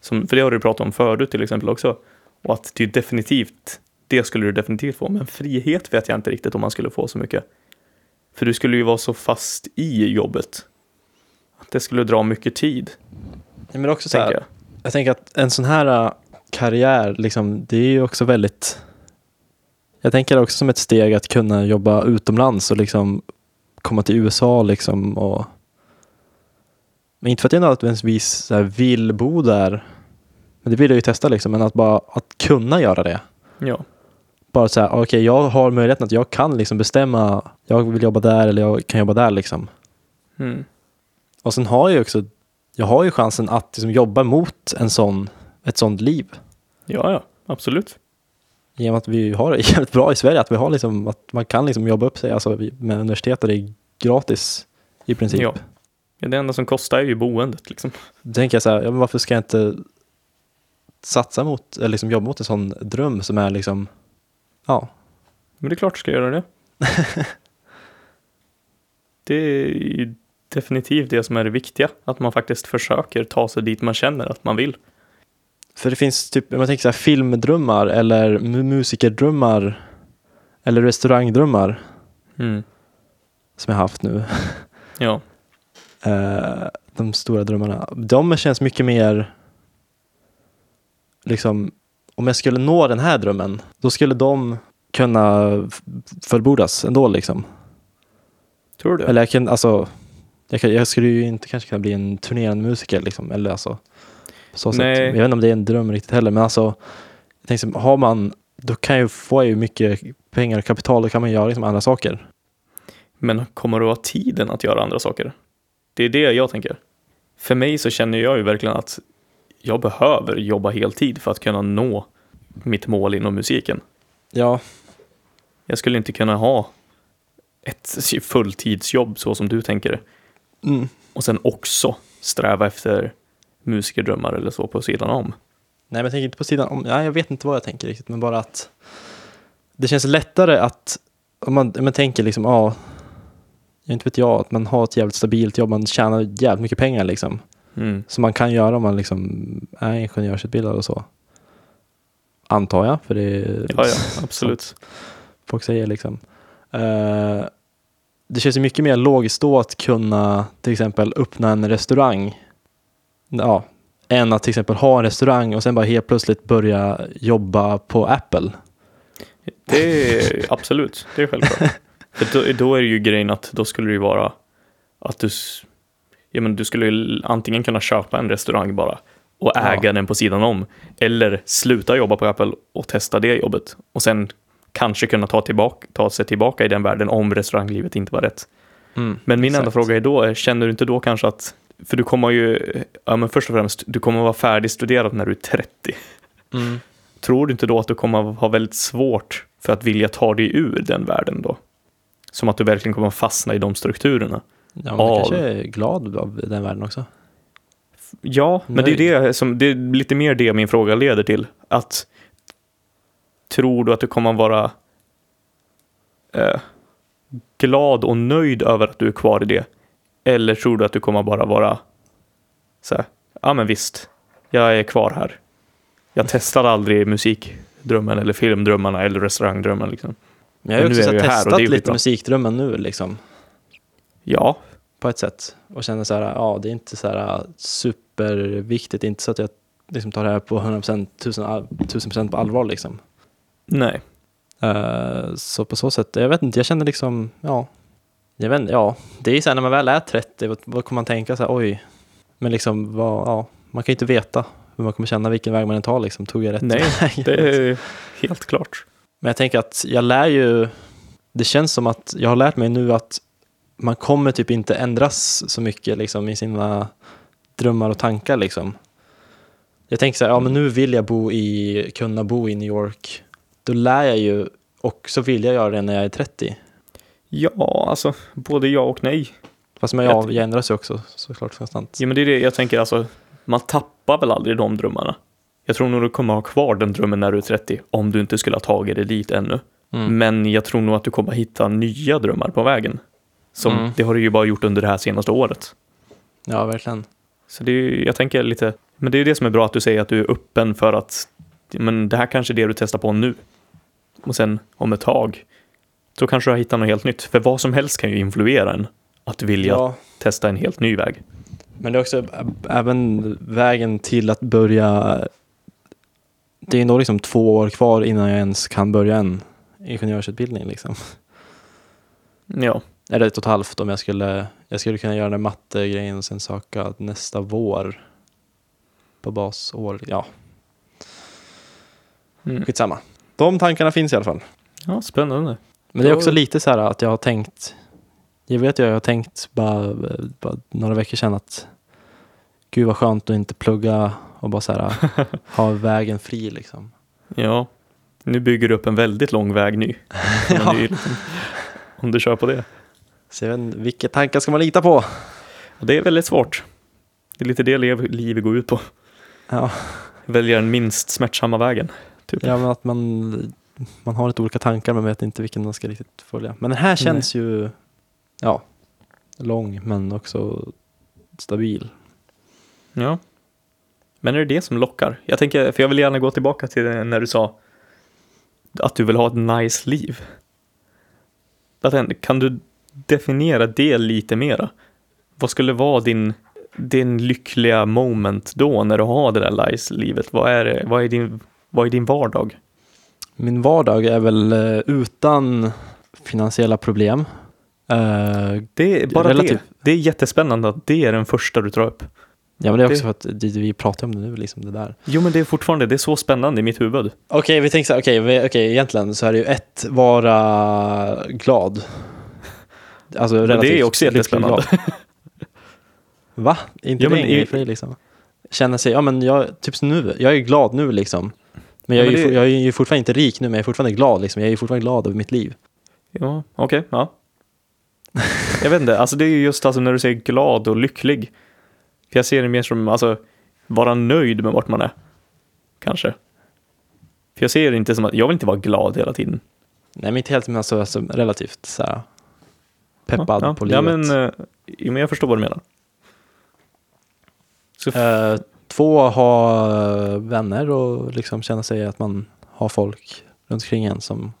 S2: som, för det har du pratat om förut till exempel också. Och att det är definitivt, det skulle du definitivt få. Men frihet vet jag inte riktigt om man skulle få så mycket. För du skulle ju vara så fast i jobbet. Att det skulle dra mycket tid,
S1: Nej, Men också så
S2: tänker
S1: här,
S2: jag.
S1: jag tänker att en sån här äh, karriär, liksom, det är ju också väldigt... Jag tänker det också som ett steg att kunna jobba utomlands och liksom komma till USA liksom och... Men inte för att jag nödvändigtvis så här vill bo där, men det vill jag ju testa liksom, men att bara att kunna göra det.
S2: Ja.
S1: bara så här, okej jag har möjligheten att jag kan liksom bestämma, jag vill jobba där eller jag kan jobba där liksom.
S2: Mm.
S1: Och sen har jag ju också, jag har ju chansen att liksom jobba mot en sån, ett sånt liv.
S2: ja, ja, absolut.
S1: Genom att vi har det *laughs* jävligt bra i Sverige, att vi har liksom, att man kan liksom jobba upp sig alltså, vi- med universitet och det är gratis i princip.
S2: Ja. Ja, det enda som kostar är ju boendet liksom.
S1: Då tänker jag så här, ja, men varför ska jag inte satsa mot, eller liksom jobba mot en sån dröm som är liksom, ja,
S2: Men det är klart du ska göra *laughs* det. det är ju definitivt det som är det viktiga. Att man faktiskt försöker ta sig dit man känner att man vill.
S1: För det finns typ, om man tänker så här, filmdrömmar eller mu- musikerdrömmar eller restaurangdrömmar
S2: Mm.
S1: som jag haft nu.
S2: Ja.
S1: Eh, de stora drömmarna. De känns mycket mer, liksom, om jag skulle nå den här drömmen, då skulle de kunna f- fullbordas ändå liksom.
S2: Tror du?
S1: Eller jag kan, alltså, jag, kan, jag skulle ju inte kanske kunna bli en turnerande musiker liksom, eller alltså på så
S2: Nej.
S1: sätt. Jag vet inte om det är en dröm riktigt heller, men alltså, jag tänkte, så här, har man, då kan ju få ju mycket pengar och kapital, då kan man göra liksom andra saker.
S2: Men kommer du ha tiden att göra andra saker? Det är det jag tänker. För mig så känner jag ju verkligen att jag behöver jobba heltid för att kunna nå mitt mål inom musiken.
S1: Ja,
S2: Jag skulle inte kunna ha ett fulltidsjobb så som du tänker
S1: mm.
S2: och sen också sträva efter musikerdrömmar eller så på sidan om.
S1: nej men jag tänker inte på sidan om, nej jag vet inte vad jag tänker riktigt, men bara att det känns lättare att, om man, om man tänker liksom, ja, jag inte vet jag, att man har ett jävligt stabilt jobb, man tjänar jävligt mycket pengar liksom.
S2: Mm.
S1: Som man kan göra om man liksom är ingenjörsutbildad och så. Antar jag, för det är *laughs*
S2: Ja, ja, absolut.
S1: folk säger liksom. Eh, det känns ju mycket mer logiskt då att kunna till exempel öppna en restaurang. Ja, än att till exempel ha en restaurang och sen bara helt plötsligt börja jobba på Apple.
S2: Det är absolut, det är självklart. För då, då är det ju grejen att då skulle det ju vara att du, s- ja, men du skulle ju antingen kunna köpa en restaurang bara och äga
S1: Ja.
S2: den på sidan om eller sluta jobba på Apple och testa det jobbet och sen kanske kunna ta, tillbaka, ta sig tillbaka i den världen om restauranglivet inte var rätt.
S1: Mm.
S2: Men min enda
S1: Exakt.
S2: fråga är då, är, känner du inte då kanske att, för du kommer ju, ja, men först och främst, du kommer vara färdigstuderad när du är 30.
S1: Mm.
S2: Tror du inte då att du kommer ha väldigt svårt för att vilja ta dig ur den världen då? Som att du verkligen kommer fastna i de strukturerna.
S1: Ja, man
S2: Av.
S1: kanske är glad av den världen också.
S2: Ja, men det är, det, som, det är lite mer det min fråga leder till. Att Tror du att du kommer vara eh, glad och nöjd över att du är kvar i det? Eller tror du att du kommer bara vara så här, ja men visst, jag är kvar här. Jag testar aldrig musikdrömmen eller filmdrömmarna eller restaurangdrömmen liksom.
S1: Men jag har
S2: Men
S1: ju
S2: nu
S1: också
S2: är
S1: så här
S2: vi här och
S1: testat
S2: det är ju
S1: lite
S2: bra.
S1: musikdrömmen nu liksom,
S2: Ja,
S1: på ett sätt. Och känner så här, ja det är inte så här äh, superviktigt, det är inte så att jag liksom tar det här på 100%, 1000%, 1000 på allvar liksom.
S2: nej.
S1: Eh, så på så sätt, jag vet inte, jag känner liksom, ja, jag vet inte, ja, det är så här när man väl är 30, vad, vad kommer man tänka så här, oj, men liksom, vad, ja, man kan ju inte veta hur man kommer känna vilken väg man än tar liksom, tog jag rätt
S2: Nej,
S1: *laughs* väg?
S2: Det är helt klart.
S1: Men jag tänker att jag lär ju, det känns som att jag har lärt mig nu att man kommer typ inte ändras så mycket liksom, i sina drömmar och tankar. Liksom. Jag tänker så här, ja men nu vill jag bo i, kunna bo i New York. Då lär jag ju också vilja göra det när jag är 30.
S2: Ja, alltså både ja och nej.
S1: Fast men
S2: Jag
S1: jag,
S2: t-
S1: jag ändras ju också såklart konstant.
S2: Ja, men det är det jag tänker, alltså, man tappar väl aldrig de drömmarna. Jag tror nog du kommer ha kvar den drömmen när du är 30, om du inte skulle ha tagit dig dit ännu.
S1: Mm.
S2: Men jag tror nog att du kommer hitta nya drömmar på vägen. Som,
S1: Mm.
S2: Det har du ju bara gjort under det här senaste året.
S1: Ja, verkligen.
S2: Så det är, ju- jag tänker lite, men det är ju det som är bra att du säger att du är öppen för att men det här kanske är det du testar på nu. Och sen om ett tag, då kanske du har hittat något helt nytt. För vad som helst kan ju influera en att vilja
S1: Ja,
S2: testa en helt ny väg.
S1: Men det är också ä- även vägen till att börja. Det är ändå liksom två år kvar innan jag ens kan börja en ingenjörsutbildning. Liksom.
S2: Ja,
S1: Eller ett och ett halvt om jag skulle, jag skulle kunna göra den där mattegrejen och sen söka nästa vår på basår. Ja,
S2: mm.
S1: skitsamma. De tankarna finns i alla fall.
S2: ja spännande.
S1: Men det är
S2: Ja.
S1: också lite så här att jag har tänkt, jag vet ju jag har tänkt bara, bara några veckor sedan att gud vad skönt att inte plugga och bara så här ha vägen fri liksom.
S2: Ja, nu bygger du upp en väldigt lång väg ny. Men det är ju liksom- om du kör på det.
S1: Så jag vet inte, vilka tankar ska man lita på?
S2: Och det är väldigt svårt. Det är lite det lev- livet går ut på.
S1: Ja,
S2: Välja den minst smärtsamma vägen. Typ.
S1: ja men att man, man har lite olika tankar men vet inte vilken man ska riktigt följa. Men den här känns ju, ja, lång men också stabil.
S2: Ja. Men är det det som lockar? Jag tänker, för jag vill gärna gå tillbaka till det när du sa att du vill ha ett nice liv. Att en- Kan du definiera det lite mera? Vad skulle vara din, din lyckliga moment då när du har det där nice livet? Vad är, det- vad är, din, vad är din vardag?
S1: Min vardag är väl eh, utan finansiella problem. Eh,
S2: Det är bara
S1: Relativt-
S2: det. Det är jättespännande att det är den första du drar upp.
S1: Ja men det är
S2: Det-
S1: också för att det, vi pratar om det nu, liksom det där.
S2: Jo, men det är fortfarande, det är så spännande i mitt huvud.
S1: Okej, vi tänker så här, okej, vi- okej, egentligen så är det ju ett, vara glad. Alltså
S2: det är
S1: relativt.
S2: också
S1: lycklig
S2: jättespännande.
S1: glad. Va? Är inte
S2: Ja,
S1: det
S2: men
S1: en grej
S2: i-
S1: för dig liksom? Känna sig, ja men jag, typ som nu, jag är glad nu liksom. Men
S2: Ja,
S1: jag, är,
S2: men
S1: ju,
S2: det-
S1: for- jag är ju fortfarande inte rik nu, men jag är fortfarande glad liksom. Jag är ju fortfarande glad över mitt liv.
S2: Ja, okej, ja. Jag vet inte, alltså det är ju just alltså när du säger glad och lycklig. För jag ser det mer som, alltså, vara nöjd med vart man är. Kanske. För jag ser det inte som att, jag vill inte vara glad hela tiden.
S1: Nej men inte helt, men alltså, alltså relativt så här. peppad
S2: ja, ja.
S1: på
S2: Ja,
S1: livet.
S2: men, eh, jo, men jag förstår vad du menar. Så,
S1: Eh, två, ha eh, vänner och liksom känna sig att man har folk runt omkring en som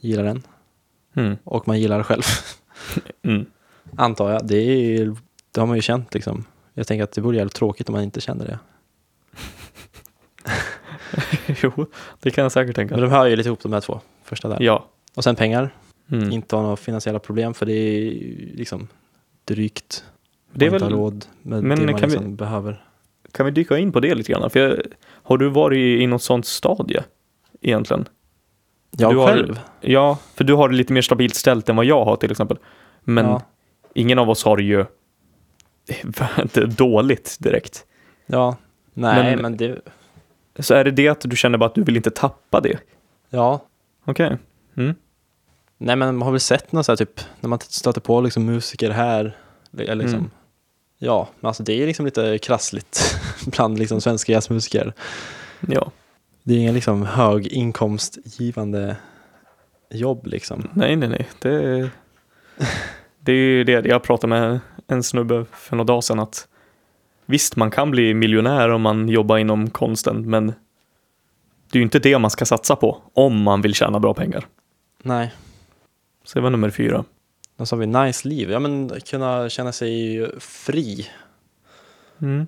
S1: gillar en.
S2: mm,
S1: Och man gillar det själv, *laughs*
S2: mm, *laughs*
S1: antar jag. Det, är, ju- det har man ju känt liksom. Jag tänker att det vore jävligt tråkigt om man inte kände det.
S2: jo, det kan jag säkert tänka.
S1: Men de hör ju lite ihop de här två första där.
S2: Ja.
S1: Och sen pengar,
S2: Mm.
S1: inte ha några finansiella problem för det är ju liksom drygt.
S2: Det är
S1: man inte
S2: väl-
S1: har råd med
S2: men
S1: det man
S2: kan vi-
S1: liksom behöver.
S2: Kan vi dyka in på det lite grann? För jag, har du varit i något sånt stadie egentligen?
S1: Jag
S2: Du har-
S1: själv?
S2: Ja, för du har det lite mer stabilt ställt än vad jag har till exempel. Men
S1: Ja.
S2: ingen av oss har det ju *laughs* inte dåligt direkt.
S1: ja. Nej,
S2: Men-
S1: men, det...
S2: Så är det det att du känner bara att du vill inte tappa det?
S1: Ja.
S2: Okej.
S1: Nej, men man har väl sett något så här, typ, när man stöter på liksom musiker här. Eller liksom,
S2: Mm.
S1: Ja, men alltså det är liksom lite krassligt *laughs* bland liksom svenska jazzmusiker.
S2: Ja.
S1: Det är ingen liksom höginkomstgivande jobb liksom.
S2: Nej, nej, nej. Det, det är ju det jag pratade med en snubbe för några dagar sedan att visst, man kan bli miljonär om man jobbar inom konsten, men det är ju inte det man ska satsa på om man vill tjäna bra pengar.
S1: Nej,
S2: Så det var nummer fyra.
S1: då sa vi nice liv. Ja, men kunna känna sig fri.
S2: Mm.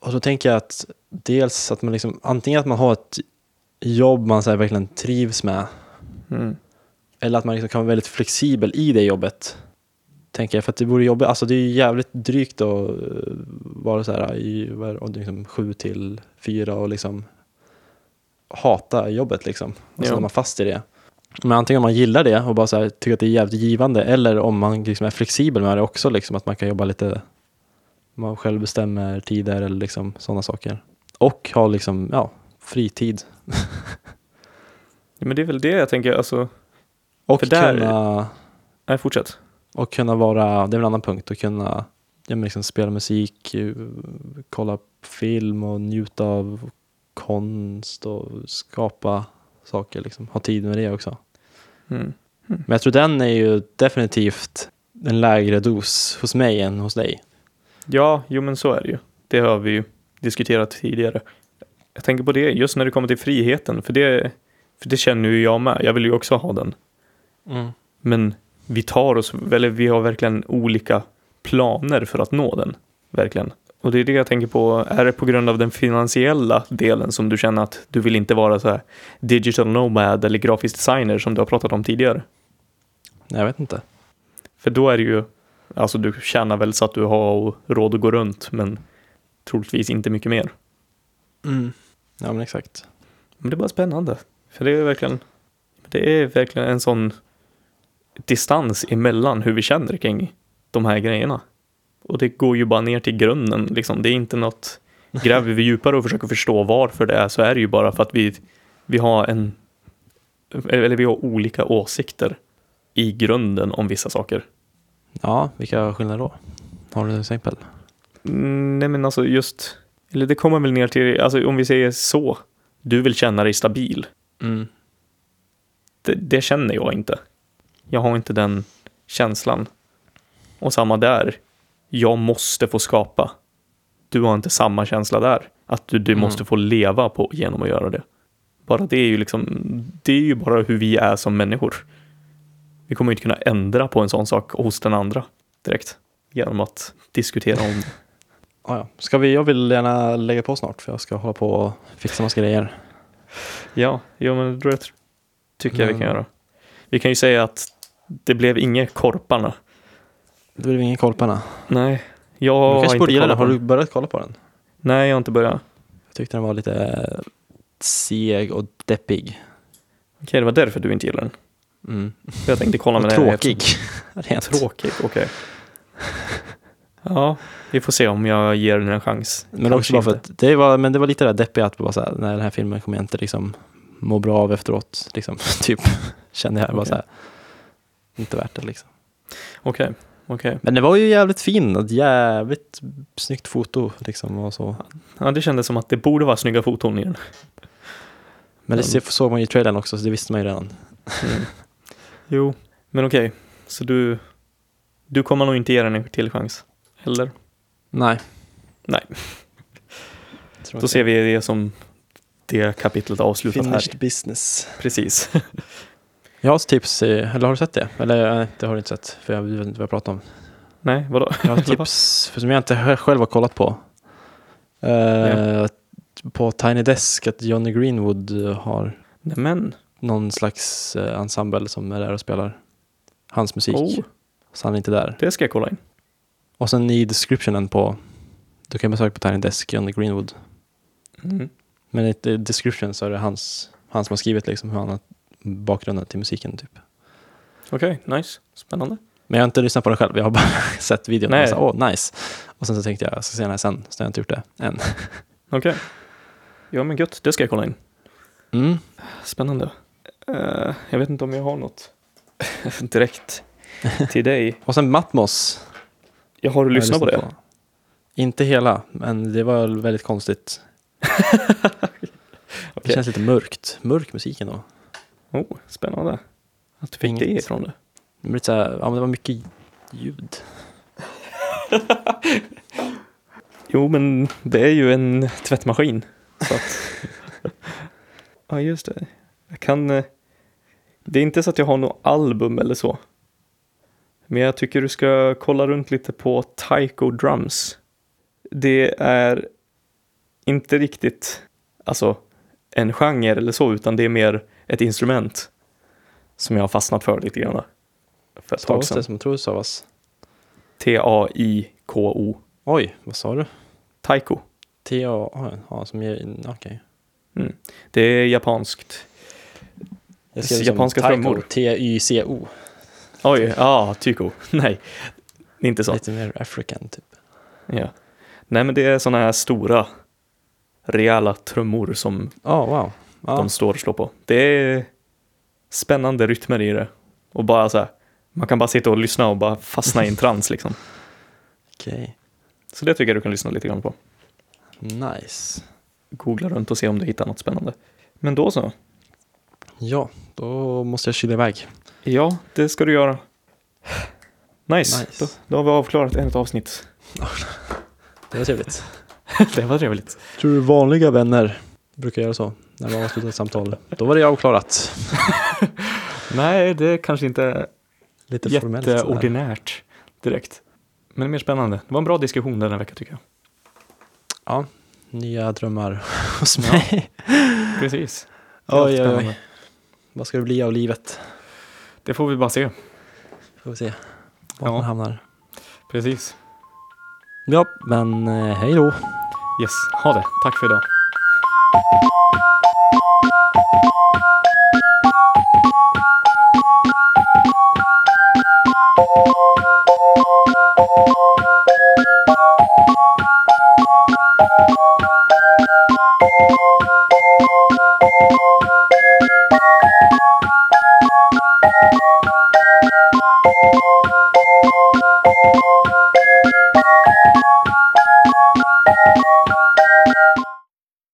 S1: Och så tänker jag att dels att man liksom, antingen att man har ett jobb man så här, verkligen trivs med
S2: Mm.
S1: Eller att man liksom kan vara väldigt flexibel i det jobbet. Tänker jag, för att det vore jobbigt. Alltså det är ju jävligt drygt att eh, vara så här i vad är det, och det är liksom sju till fyra och liksom hata jobbet liksom. Och så
S2: Ja.
S1: är man fast i det. Men antingen om man gillar det och bara så här, tycker att det är jävligt givande eller om man liksom är flexibel med det också, liksom, att man kan jobba lite, man själv bestämmer tider eller liksom sådana saker. Och ha liksom, ja, fritid.
S2: Ja, Men det är väl det jag tänker, alltså,
S1: Och
S2: För där-
S1: kunna
S2: nej, fortsätt.
S1: Och kunna vara, det är en annan punkt, att kunna ja, men liksom spela musik, eh, kolla på film och njuta av konst och skapa saker. Liksom. Ha tid med det också.
S2: Mm.
S1: Men jag tror den är ju definitivt en lägre dos hos mig än hos dig.
S2: Ja, jo men så är det ju. Det har vi ju diskuterat tidigare. Jag tänker på det just när det kommer till friheten, för det, för det känner ju jag med. Jag vill ju också ha den. Men vi tar oss, eller vi har verkligen olika planer för att nå den. Verkligen. Och det är det jag tänker på, är det på grund av den finansiella delen som du känner att du vill inte vara så här digital nomad eller grafisk designer som du har pratat om tidigare?
S1: Nej, jag vet inte.
S2: För då är det ju, alltså du tjänar väl så att du har råd att gå runt, men troligtvis inte mycket mer.
S1: Ja, men exakt.
S2: Men det är bara spännande. För det är verkligen, det är verkligen en sån distans emellan hur vi känner kring de här grejerna. Och det går ju bara ner till grunden liksom. Det är inte något, gräver vi djupare och försöker förstå varför det är så är det ju bara för att vi, vi har en, eller vi har olika åsikter i grunden om vissa saker.
S1: Ja, vilka skillnader då? Har du till exempel?
S2: Mm, Nej men alltså just, eller det kommer väl ner till, alltså om vi säger så, du vill känna dig stabil. det, det känner jag inte. Jag har inte den känslan. Och samma där. Jag måste få skapa. Du har inte samma känsla där. Att du, du
S1: Mm.
S2: måste få leva på genom att göra det. Bara det är ju liksom, det är ju bara hur vi är som människor. Vi kommer ju inte kunna ändra på en sån sak hos den andra direkt. Genom att diskutera om det.
S1: Ah, ja. Ska vi, jag vill gärna lägga på snart för jag ska hålla på och fixa massa grejer.
S2: *laughs* Ja, ja men det tror- tycker jag vi kan
S1: Men-
S2: göra. Vi kan ju säga att det blev inga korparna.
S1: Det blir ingen koll på henne.
S2: Nej,
S1: Du
S2: jag har
S1: kanske
S2: inte
S1: borde gilla den.
S2: kollat på
S1: Har
S2: den.
S1: du börjat kolla på den?
S2: Nej, jag har inte börjat.
S1: Jag tyckte den var lite eh, seg och deppig.
S2: Okej, det var därför du inte gillar den.
S1: Mm.
S2: För Jag tänkte kolla
S1: Och
S2: med dig.
S1: tråkig. *laughs* Rent.
S2: Tråkig, okej. Ja, vi får se om jag ger den en chans.
S1: men också bara för att det var, men det var lite det där deppiga att bara så här, när den här filmen kommer jag inte liksom må bra av efteråt. Liksom, *laughs* typ kände jag bara
S2: Okej.
S1: så här. Inte värt det liksom.
S2: Okej, okej.
S1: Men det var ju jävligt fin och ett jävligt snyggt foto liksom och så.
S2: Ja, det kändes som att det borde vara snygga foton i den.
S1: Men det
S2: Men-
S1: se- såg man ju i trailern *laughs*
S2: Mm.
S1: också så det visste man ju redan.
S2: Jo, men okej. Så du, Du kommer nog inte ge den en till chans. Eller?
S1: Nej.
S2: Nej.
S1: *laughs* Tråkigt.
S2: Då ser vi det som det kapitlet avslutat här.
S1: Finished business.
S2: Precis. *laughs*
S1: Jag har ett tips, i, eller har du sett det? Eller nej, det har du inte sett, för jag vet inte vad jag pratar om.
S2: Nej, vadå?
S1: Jag
S2: *laughs*
S1: har ett tips för som jag inte hö- själv har kollat på. Eh,
S2: Ja.
S1: På Tiny Desk att Johnny Greenwood eh, har
S2: Nej, men.
S1: någon slags eh, ensemble som är där och spelar hans musik.
S2: Oh,
S1: Så han är inte där.
S2: det ska jag kolla in.
S1: Och sen i descriptionen på, du kan besöka på Tiny Desk, Johnny Greenwood.
S2: Mm.
S1: Men i i description så är det hans, han som har skrivit liksom hur han har bakgrunden till musiken typ.
S2: Okej, nice. Spännande.
S1: Men jag har inte lyssnat på den själv, jag har bara *laughs* sett videon och
S2: Nej.
S1: jag sa åh nice. Och sen så tänkte jag, jag ska se den här sen, så jag har inte gjort det än.
S2: Okej. Ja, men gött. Det ska jag kolla in.
S1: Mm.
S2: Spännande. Eh, jag vet inte om jag har något *laughs* direkt till dig.
S1: Och sen Matmos
S2: Jag har du
S1: har jag
S2: lyssnat på det?
S1: lyssnat Inte hela, men det var väldigt
S2: *laughs*
S1: konstigt. Det
S2: Okej.
S1: känns lite mörkt, mörk musik ändå.
S2: Oh, spännande. Att du fick
S1: Inget.
S2: det ifrån det.
S1: Det, blir lite så här, ja, men det var mycket ljud.
S2: Jo, men det är ju en tvättmaskin. Så att... *laughs* ja, just det. Jag kan... eh, Det är inte så att jag har något album eller så. Men jag tycker du ska kolla runt lite på Taiko Drums. Det är inte riktigt alltså, en genre eller så, utan det är mer ett instrument som jag har fastnat för lite grann. För ett tag
S1: Stavas det
S2: sedan.
S1: som tror stavas?
S2: T-A-I-K-O.
S1: Oj, vad sa du?
S2: Taiko.
S1: T-A, ja, ja, som ger, mm, okej.
S2: Det är japanskt.
S1: Jag skrev det som
S2: Japanska
S1: taiko,
S2: trummor.
S1: T-Y-C-O.
S2: Oj, ja, ah, Tycho. *laughs* Nej, det är inte så.
S1: Lite mer African typ.
S2: Ja. Nej, men det är sådana här stora, rejäla trummor som
S1: Ja, wow. Ja.
S2: de står och slår på. Det är spännande rytmer i det. Och bara så här, man kan bara sitta och lyssna och bara fastna *laughs* i en trans liksom.
S1: Okej,
S2: Så det tycker jag du kan lyssna lite grann på.
S1: nice.
S2: Googla runt och se om du hittar något spännande. Men då så.
S1: Ja, då måste jag kyla iväg.
S2: Ja, det ska du göra. Nice.
S1: Nice.
S2: Då, då har vi avklarat ett avsnitt.
S1: Det var trevligt.
S2: *laughs* det var trevligt.
S1: *laughs* Tror du vanliga vänner brukar göra så? När man avslutar ett samtal. Då var det avklarat.
S2: Nej, det kanske inte
S1: Lite formellt. sådär.
S2: Jätteordinärt direkt. Men mer spännande. Det var en bra diskussion den här veckan tycker jag.
S1: Ja, nya *laughs* drömmar hos mig.
S2: Precis.
S1: Oj, oj, oj. Vad ska det bli av livet?
S2: Det får vi bara se.
S1: Får vi se var
S2: Ja.
S1: man hamnar.
S2: Precis.
S1: Ja, men eh, hej då.
S2: Yes, ha det. Tack för idag.